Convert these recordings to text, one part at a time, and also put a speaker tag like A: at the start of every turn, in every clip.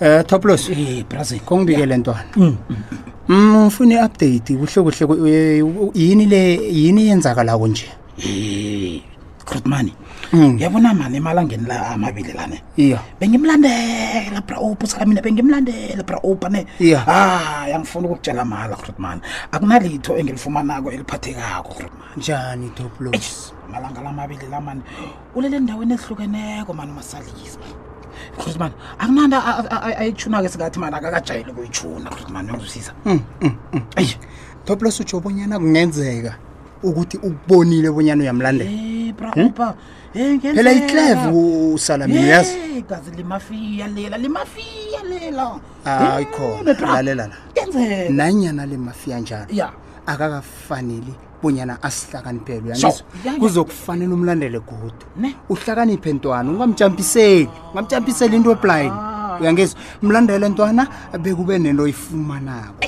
A: Eh Toplos,
B: Eh braze
A: ngibike
B: kongibike
A: le ntwana. Mm ngifuna iupdate kuhle kuhle ku- eh, u- yini le yini yenzakala konje?
B: eh Krutmani
A: Mm.
B: yabona mani emalangeni la amabili lane
A: Iya.
B: bengimlandela bra opusaka mina bengimlandela bra opa ne Ah,
A: Yeah.
B: hayi angifuna ukukutshela mahala Krutmani akunalitho engilifumanako eliphathekako Krutmani
A: Njani Toplos?
B: malanga lamabili la mani ulele endaweni ehlukeneko mani masalisa Krutmani akunanto ayithuna-ke singathi mani akakajayeli kuyithuna Krutmani uyangizwisisa eyi
A: Toplos utsho bonyana kungenzeka ukuthi ukubonile bonyana uyamlandela.
B: Eh, bra opa Eh, ngenzeka.
A: Phela iCleve usala mina yazi.
B: Eh, gazi limafiya lela limafiya lela
A: Hayi
B: Eh,
A: khona
B: bra.
A: lalela Ah, la.
B: yenzeka
A: Nanyana le mafia njalo.
B: ya
A: akakafaneli bonyana asihlakaniphelwe
B: So,
A: uyangizwa
B: yeah, yeah.
A: kuzokufanele umlandele godu
B: Ne.
A: uhlakaniphe ntwana ungamjampiseli ungamjampiseli into eblind
B: Ah.
A: uyangizwa mlandele ntwana bekube nento oyifumanako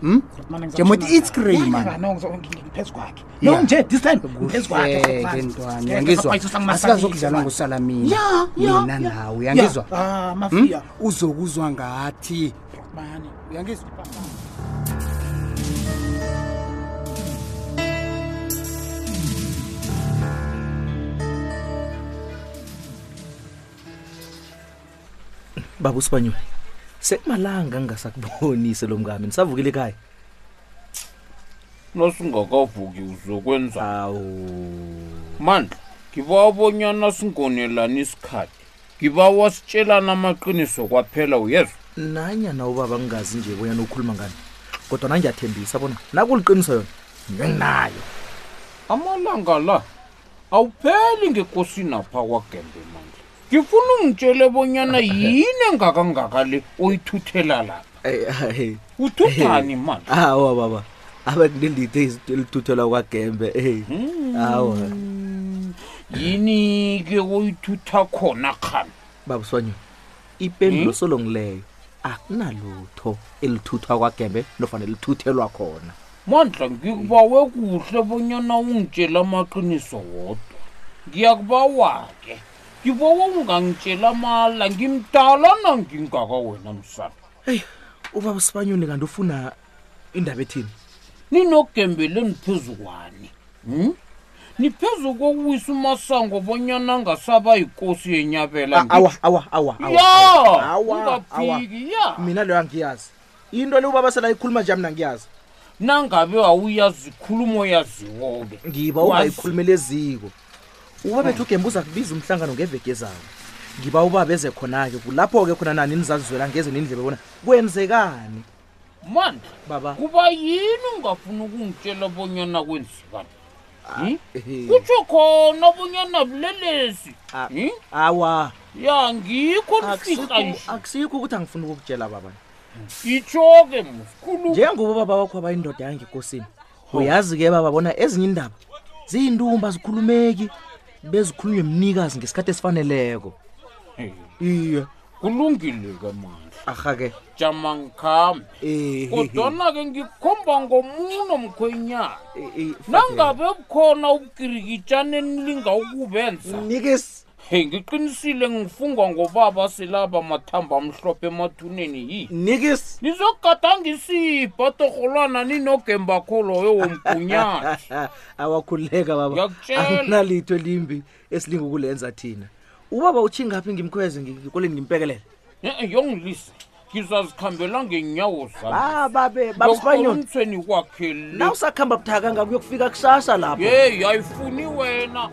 A: Njemuthi it's grey, man.
B: ngiphezu kwakhe
A: Yeah.
B: no nje this time ngiphezu kwakhe
A: kuhleke ntwana uyangizwa asikazokudlala ngusalamina
B: ya ya
A: mina
B: ya.
A: nawe
B: Ya,
A: uyangizwa
B: ah mafiya
A: uzokuzwa ngathi
B: Krutmani.
A: uyangizwa
C: baba usibanyule sekumalanga ngingasakubonise lo mngami nisavukile ekhaya
D: nasingakavuki uzokwenza
C: awu
D: mandla ngibawabonyana singonelani isikhathi ngibawa sitshelana amaqiniso kwaphela uyezwa
C: nanyana ubaba ngingazi nje bonyana ukhuluma ngani kodwa nangiyathembisa bona nakuliqiniso yona ngenginayo
D: amalanga la awupheli ngekosini apha kwagembe mandla ngifuna ungitshele bonyana yini engakangaka le oyithuthela lapha uthuthani mandla
C: awa baba abakulelite elithuthelwa kwagembe eh. awa
D: yini-ke oyithutha khona khani
C: baba usibanyule ipendulo solongileyo akunalutho elithuthwa kwagembe nofana elithuthelwa khona
D: mandla ngikubawe kuhle bonyana ungitshela amaqiniso wodwa ngiyakubawa-ke ngibawa ungangitshela amala ngimdala nangingaka wena msana
C: eyi ubaba usibanyule kanti ufuna indaba ethini
D: ninogembeleni phezu kwani hmm? niphezu kokuwisa umasango bonyana angasaba yikosi yenyabela
C: A- awa awa awa awa, awa, awa,
D: ya
C: awa.
D: ungaphiki ya
C: mina leyo angiyazi into le ubaba selayikhuluma nje mina ngiyazi
D: nangabe awuyazi khulumo yaziwoke
C: ngiba
D: Wazi.
C: ungayikhulumela eziko uba bethu ugembe uza kubiza umhlangano ngeveke ezayo ngiba uba beze khona-ke kulapho-ke khona nani nizazizwela ngeze nindlebe bona kwenzekani
D: mandla
C: baba
D: kuba yini ungafuni ukungitshela bonyana kwenzekani Hmm?
C: ehe.
D: kutsho khona bonyana bulelesi
C: Ah.
D: Hmm?
C: awa
D: ya ngikho
C: akusikho
D: nifika nje
C: akusikho ukuthi angifuni ukukutshela baba
D: itsho-ke mkhulu
C: njengoba ubaba wakho abayindoda yangekosini uyazi-ke baba bona ezinye indaba ziyintumba zikhulumeki bezikhulunywe mnikazi ngesikhathi esifaneleko
D: Eh,
C: iye
D: kulungile-ke mandla
C: arha-ke
D: jama ngikhambe
C: Eh,
D: kodwana-ke ngikhomba ngomuno mkhwenyana
C: eh, eh,
D: nangabe bukhona ubukirikitshana enilinga ukubenza
C: Nikes.
D: he ngiqinisile ngifungwa ngobaba selaba mathamba amhlophe emathuneni yini
C: Nikes.
D: nizogadangisa ibhatorholwana ninogemba kholoyo womgunyathi
C: awakhululeka baba
D: Ngiyakutjela.
C: akunalitho elimbi esilinga ukulenza thina ubaba utshingaphi ngimkhweze ngi- ngikoleni ngimpekelele
D: Eh, eh, yongilise ngizazikhambela ngenyawo
C: Ah,
E: bababe babespanyol
D: zamiumthweni kwakhe le
E: na usakuhamba buthaka ngakuyo kufika kusasa lapho
D: yeyi ayifuni wena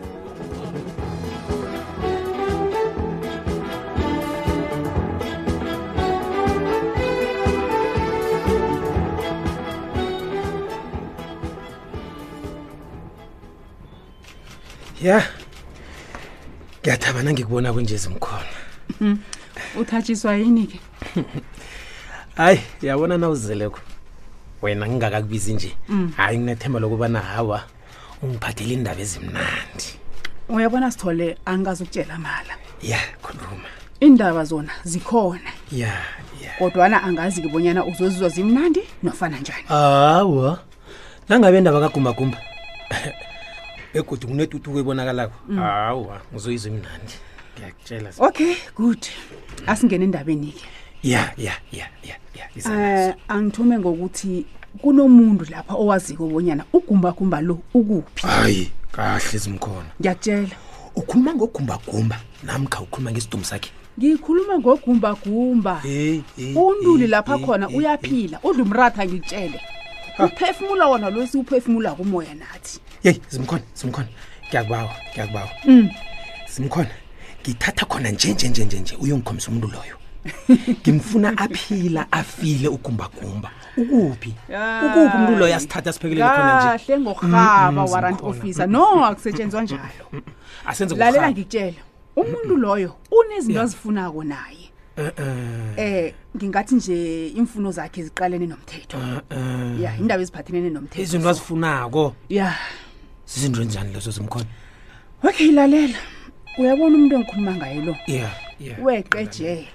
C: ya ngiyathaba nangikubona kunje zimkhona
B: uthatshiswa yini ke
C: hayi uyabona na uzeleko wena ngingakakubizi nje hayi nginethemba lokubana hawa ungiphathele iindaba ezimnandi
B: uyabona sithole angazukutshela mala
C: ya khuluma
B: iindaba zona zikhona
C: ya ya
B: kodwana angazi kibonyana uzozizwa zimnandi nofana njani
C: hawa nangabe indaba kagumagumba begodi kunetutuko ebonakalako hawa ngizoyizwa imnandi ngiyakutshela zi-
B: okay good asingene endabeni ke
C: ya ya ya ya ya
B: um
C: izanazo
B: angithume ngokuthi kunomuntu lapha owaziko bonyana ugumbagumba lo ukuphi
C: hayi kahle zimkhona
B: ngiyakutshela
C: ukhuluma ngogumbagumba namkha ukhuluma ngesidumo sakhe
B: ngikhuluma ngogumbagumba
C: Hey, hey,
B: unduli
C: hey,
B: lapha
C: hey,
B: khona
C: hey,
B: uyaphila udla umratha ngitshele uphefumula wona lo siwuphefumula kumoya nathi
C: yeyi zimkhona zimkhona ngiyakubawa ngiyakubawa zimkhona ngithatha khona njenjenjenjenje uyongikhomisa umuntu loyo ngimfuna aphila afile ugumbagumba ukuphi
B: Ah.
C: ukuphi umuntu loyo asithatha asiphekelele khona nje Mm,
B: kahle ngorhaba warrant
C: zikhona. Mm,
B: officer no akusetshenzwa njalo
C: asenze
B: lalela
C: kurhaba.
B: ngitshele
C: Mm,
B: umuntu loyo unezinto azifunako naye
C: Eh, eh,
B: eh ngingathi nje imfuno zakhe ziqalene nomthetho
C: eh.
B: ya indaba eziphathelene nomthetho
C: izinto azifunako
B: ya
C: zizinto enjani lezo zimkhona
B: okay lalela uyabona umuntu engikhuluma ngaye lo
C: ya ya
B: weqejele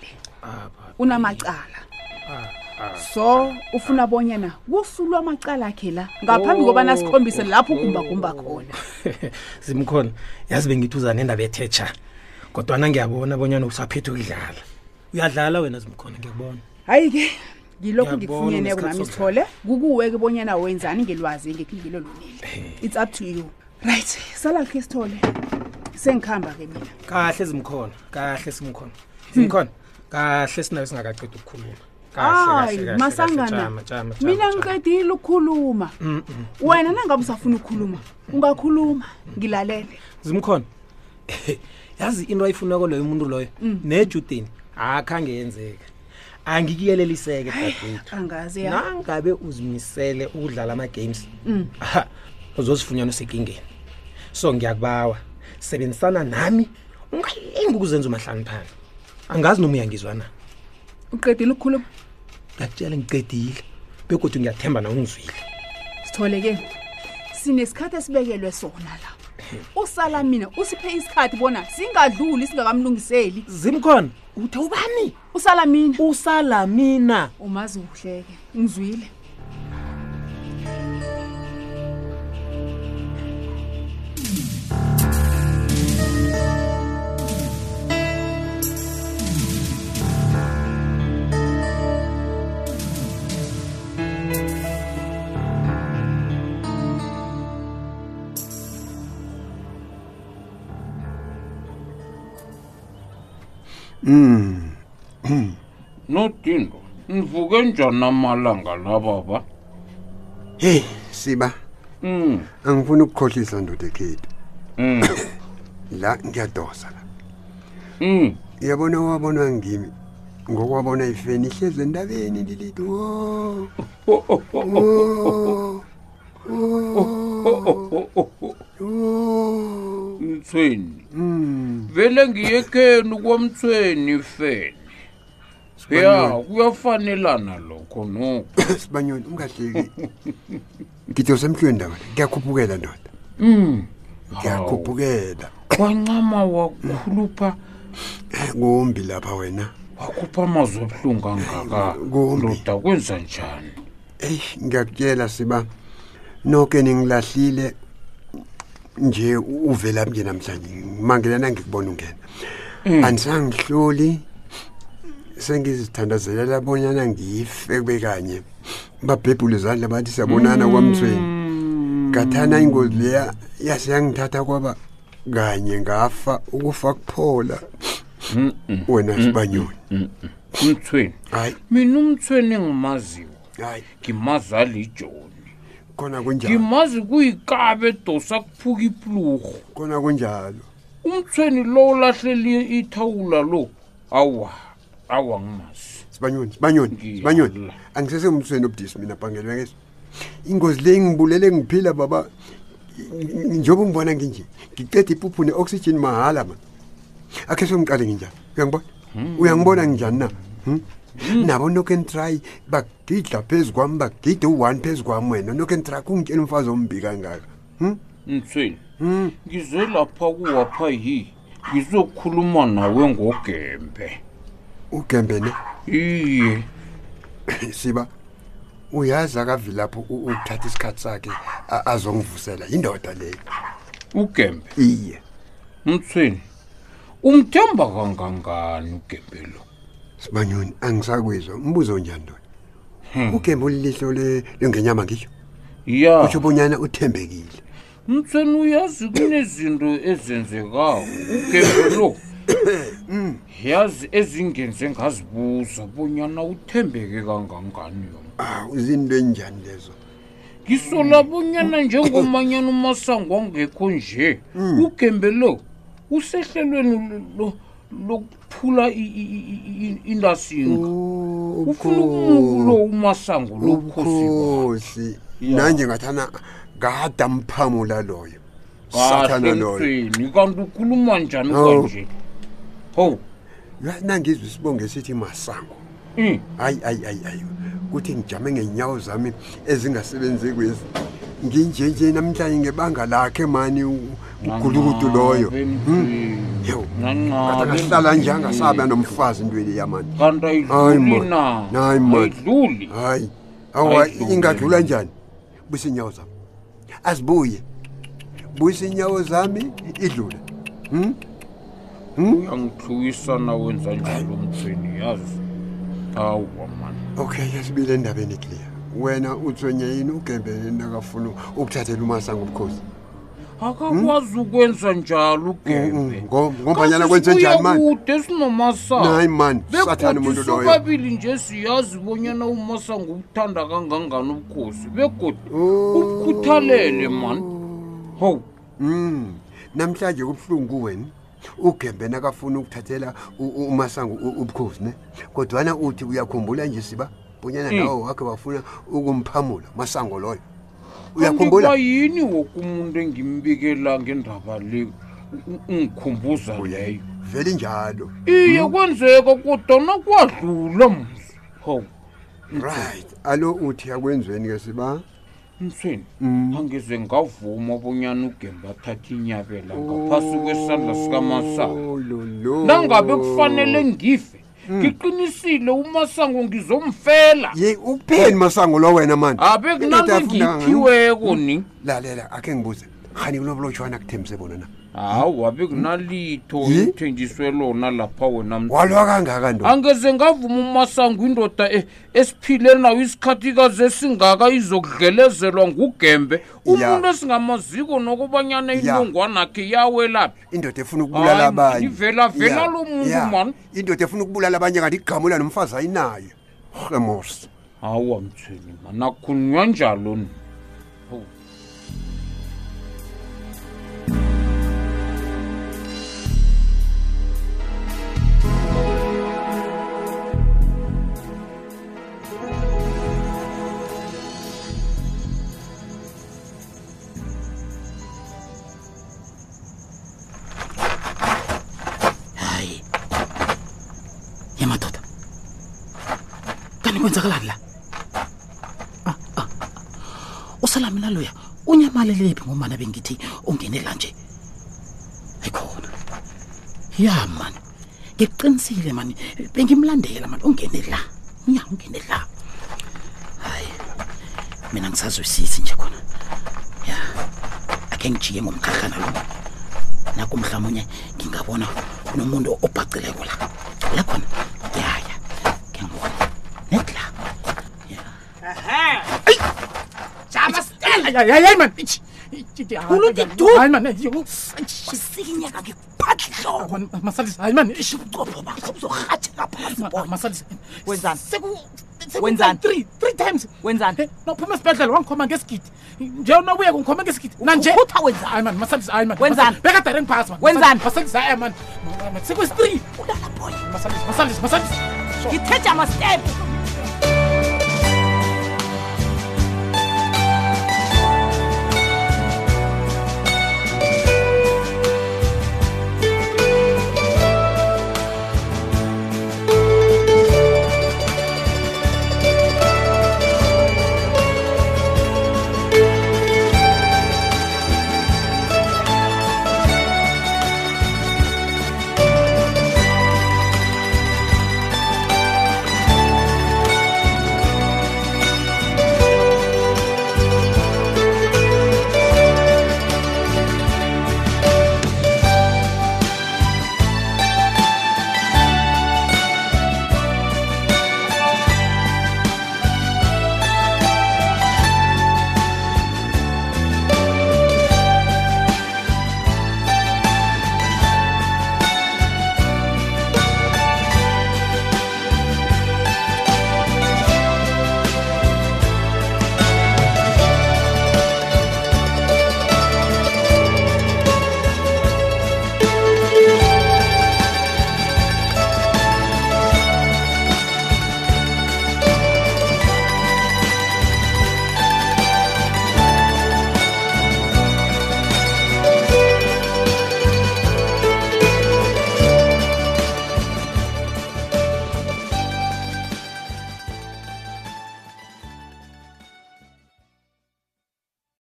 C: Apha.
B: unamacala
C: Ah,
B: so ufuna bonyana kusulwa amacala akhe la ngaphambi
C: Oh,
B: kobana sikhombise lapho ugumbagumba khona
C: zimkhona yazi bengithi uza nendaba ethetsha kodwana ngiyabona bonyana usaphethe ukudlala uyadlala wena zimkhona ngiyakubona
B: hayi-ke ngilokhu
C: Ngiyabona
B: ngikufunyeneko
C: ngesikhathi
B: nami sithole
C: sokudlala.
B: kukuweke bonyana wenzani ngelwazi engekungilo lunile it's up to you right salakhe sithole sengikhamba-ke mina
C: kahle zimkhona kahle simkhona zimkhona kahle sinabe singakacedi ukukhuluma Kahle, kahle, kahle,
B: hayi
C: kahle, jama,
B: masangana
C: jama, Mm, jama,
B: mina
C: jama.
B: ngiqedile ukukhuluma wena nangabe usafuna ukukhuluma ungakhuluma ngilalele
C: zimkhona yazi into ayifunako loyo umuntu loyo
B: Mm.
C: nejudeni akhange yenzeka angikuyeliseke dadethu
B: angazi ya Mm.
C: nangabe uzimisele ukudlala ama-games aha, uzozifunyana usekingeni so ngiyakubawa sebenzisana nami ungalingi ukuzenza umahlanu phana angazi noma uyangizwa na
B: uqedile ukukhuluma
C: ngiyakutshela ngiqedile begodwa ngiyathemba nawe ungizwile
B: sitholeke sinesikhathi esibekelwe sona la usala mina usiphe isikhathi bona singadluli singakamlungiseli
C: zimkhona uthe ubani
B: usala mina
C: usala mina
B: umazi kuhleke ngizwile
D: nodindo nivuke njani amalanga la baba
F: Hey Siba,
D: um
F: angifuni ukukhohlisa ndoda ekhethu. Mm.
D: um
F: La ngiyadosa la.
D: um
F: Uyabona wabonwa ngimi. Ngokwabona ifeni ihlezi endabeni lilithi. Wo. Wo.
D: Oh,
F: Wo.
D: mthweni
F: Mm.
D: vele ngiyekheni kwamthweni fene ya kuyafanelana lokho noko
F: Sibanyoni ungahleki. Ngidosa emhlweni ndaba. Ngiyakhuphukela ndoda.
D: um
F: Ngiyakhuphukela.
D: kwancama wakhulupha
F: Ngombi lapha wena.
D: wakhupha amazwi ebuhlungu angaka
F: Kumbi.
D: ndoda kwenza njani
F: Ey ngiyakutshela siba noke ningilahlile nje uvela manje namhlanje mangelana ngikubona
D: Hmm.
F: ungena andisangihloli sengizithandazelela bonyana ngife kube kanye babhebhule izandla bathi siyabonana kwamthweni ngathana ingozi leya yase yangithatha kwaba kanye ngafa ukufa kuphola wena sibanyoni
D: umthweni
F: hayi
D: mina umthweni engimaziwo
F: hayi
D: ngimazi lijoni
F: khona kunjalo
D: ngimazi kuyikabe edosa kuphuka ipluhu
F: khona kunjalo
D: umthweni lo ulahleli ithawula lo awa awa ngimazi
F: sibanyoni sibanyoni
D: Ngiya
F: sibanyoni
D: la.
F: angisesemthweni obudisi mina bhangela uyangezo ingozi le ngibulele ngiphila baba ng- njengoba ungibona nginje ngiceda ipuphu ne-oxygen mahhala man akhe somqale nginjani uyangibona uyangibona nginjani na Hmm? nabo knock and try bagidla phezu kwami bagide u-one phezu kwami wena knock and try kungitshela umfazi ombi kangaka Hmm?
D: umthweni ngize lapha kuwapha yi ngizokhuluma nawe ngogembe
F: ugembe ne
D: iye
F: siba uyazi akavilapho u- ukuthatha isikhathi sakhe a- azongivusela indoda leyo
D: ugembe
F: iye
D: umthweni umthemba kangangani ugembe lo
F: sibanyoni angisakwizwa umbuzo onjani lona ugembe olilihlo le- lengenyama ngisho
D: ya
F: kusho bonyana uthembekile
D: mthweni uyazi kunezinto ezenzekayo ugembe lo yazi ezingenze ngazibuza bonyana uthembeke kangangani yona
F: aw izinto enjani lezo
D: ngisola bonyana njengomanyana umasango angekho nje ugembe lo usehlelweni lo- lo- lokuphula i- i- i- i- indasinga ufuna umuku lo umasango lokhosi wakhe.
F: ubukhosi nanje ngathana ngada mphamula loyo sathana
D: kahle
F: loyo
D: mfeni kanti ukhuluma njani
F: Oh.
D: kanje ho
F: Yazi nangizwe isibonge sithi masango
D: Mm.
F: hayi hayi hayi hayi kuthi ngijame ngeenyawo zami ezingasebenzi kwezi nginjenje namhlanje ngebanga lakhe mani u- ugulukudu loyo
D: Nangabe
F: Hmm?
D: mfeni,
F: Yo.
D: nangabe
F: kade ngahlala nje
D: mfeni.
F: angasaba nomfazi intweni yamani
D: kanti
F: Hayi,
D: ayidluli
F: man.
D: na
F: Hayi, man.
D: ayidluli
F: hayi awa
D: Ayidluli.
F: ingadlula njani busa iinyawo zami azibuye busa iinyawo zami idlule Hmm?
D: uyangithuwisana wenza njalo mthweni yazi awa mani
F: okay yasibile endabeni clear wena uthwenye yini ugembeni nakafuna ukuthathela umasango ubukhosi
D: akakwazi ukwenza njalo
F: Mm,
D: ugembe
F: mm, ngo- Hmm? ngombanyana kwenze njani mani?
D: kude
F: nayi
D: sinomasango
F: mani sathane umuntu
D: begodi
F: loyo
D: sobabili nje siyazi bonyana umasango ubuthanda kangangani ubukhosi begodi
F: Oh.
D: ubukhuthalele mani ho
F: Mm. Namhlanje kubhlungu wena. Ugembe nakafuna ukuthathela u- u- umasango u- ubukhosi ne. Kodwa na uthi uyakhumbula nje siba bunyana
D: Mm.
F: nawo wakhe wafuna ukumphamula masango loyo. Uyakhumbula?
D: yini woke umuntu engimbikela ngendaba le u- ungikhumbuza leyo
F: Vele njalo.
D: iye
F: Hmm?
D: kwenzeka kodwana kwadlula mzi ho
F: Right. Alo uthi akwenzweni ke siba?
D: mthweni
F: Hmm?
D: angize ngavuma bonyana ugembe athathe inyabela ngaphasi kwesandla sikamasango
F: Oh lo lo.
D: nangabe kufanele ngife ngiqinisile umasango ngizomfela
F: Hmm. Ye upheni masango lo wena manje.
D: abe kunami ngiphiweko
F: Hmm?
D: ni
F: Lalela akhe ngibuze. Khani kulobulotshwana kuthembise bona na.
D: hawu abe kunalitho
F: Yi?
D: uthenjiswe lona lapha wena mthweni.
F: Walwa kangaka ndo.
D: angeze ngavuma umasango indoda e- esiphile nayo isikhathikazi esingaka izokudlelezelwa ngugembe umuntu
F: Ya.
D: esingamaziko nokubanyana
F: Ya.
D: inongwanakhe yawelaphi
F: indoda efuna ukubulala
D: Hayi, man,
F: abanye
D: ivela- Ah, vela
F: Ya,
D: lo muntu,
F: ya.
D: man.
F: indoda efuna ukubulala abanye kanti igamula nomfazi ayinayo remosi
D: hawa mthweni manakhulunywa njalo ni
B: hayi yemadoda kanti kwenzakalani la Ah, ah. usalamina loya unyamalelephi ngomana bengithi ungene la nje ayikhona ya mani ngikuqinisile mani bengimlandela mani ungene la ya ungene la hayi mina ngisazwisisi nje khona ya akhe ngijiye ngomkhakhana lo nakho mhlawumunye ngingabona kunomuntu obhacileko la la khona yaya ngiyangibona neti la
G: Hayi man. Uluthi du. Hayi man.
C: ngikusikinyeka ngikuphatlho
B: Akhona, masalisa hayi mani ish
C: ucopho bakho uzorhatshe ngaphansi
B: Ma- masalisa
H: Wenzani?
B: Seku- seku-
H: Wenzani?
B: three three times
H: Wenzani?
B: Eh, nawuphuma esibhedlela wangikhoma ngesigidi nje nobuye kungikhoma ngesigidi nanje
H: Ukhutha wenzani?
B: hayi mani masalisa hayi mani
H: Wenzani?
B: bekadare ngiphasa mani
H: Wenzani?
B: masalisa hayi mani sekwesi three masalisa masalisa masalisa
H: ngithetha amastepu